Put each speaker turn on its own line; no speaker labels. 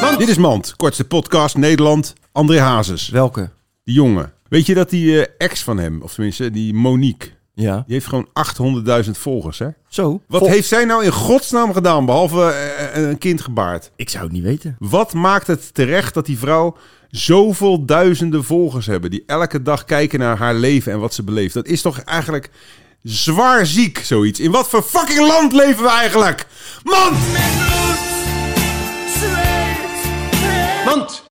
Mand!
Dit is Mand, kortste podcast Nederland. André Hazes,
Welke?
die jongen. Weet je dat die eh, ex van hem, of tenminste die Monique,
Ja.
die heeft gewoon 800.000 volgers, hè?
Zo.
Wat
Vol-
heeft zij nou in godsnaam gedaan, behalve eh, een kind gebaard?
Ik zou het niet weten.
Wat maakt het terecht dat die vrouw zoveel duizenden volgers hebben die elke dag kijken naar haar leven en wat ze beleeft? Dat is toch eigenlijk zwaar ziek zoiets. In wat voor fucking land leven we eigenlijk? Man!
Met bloed, zweet en
Want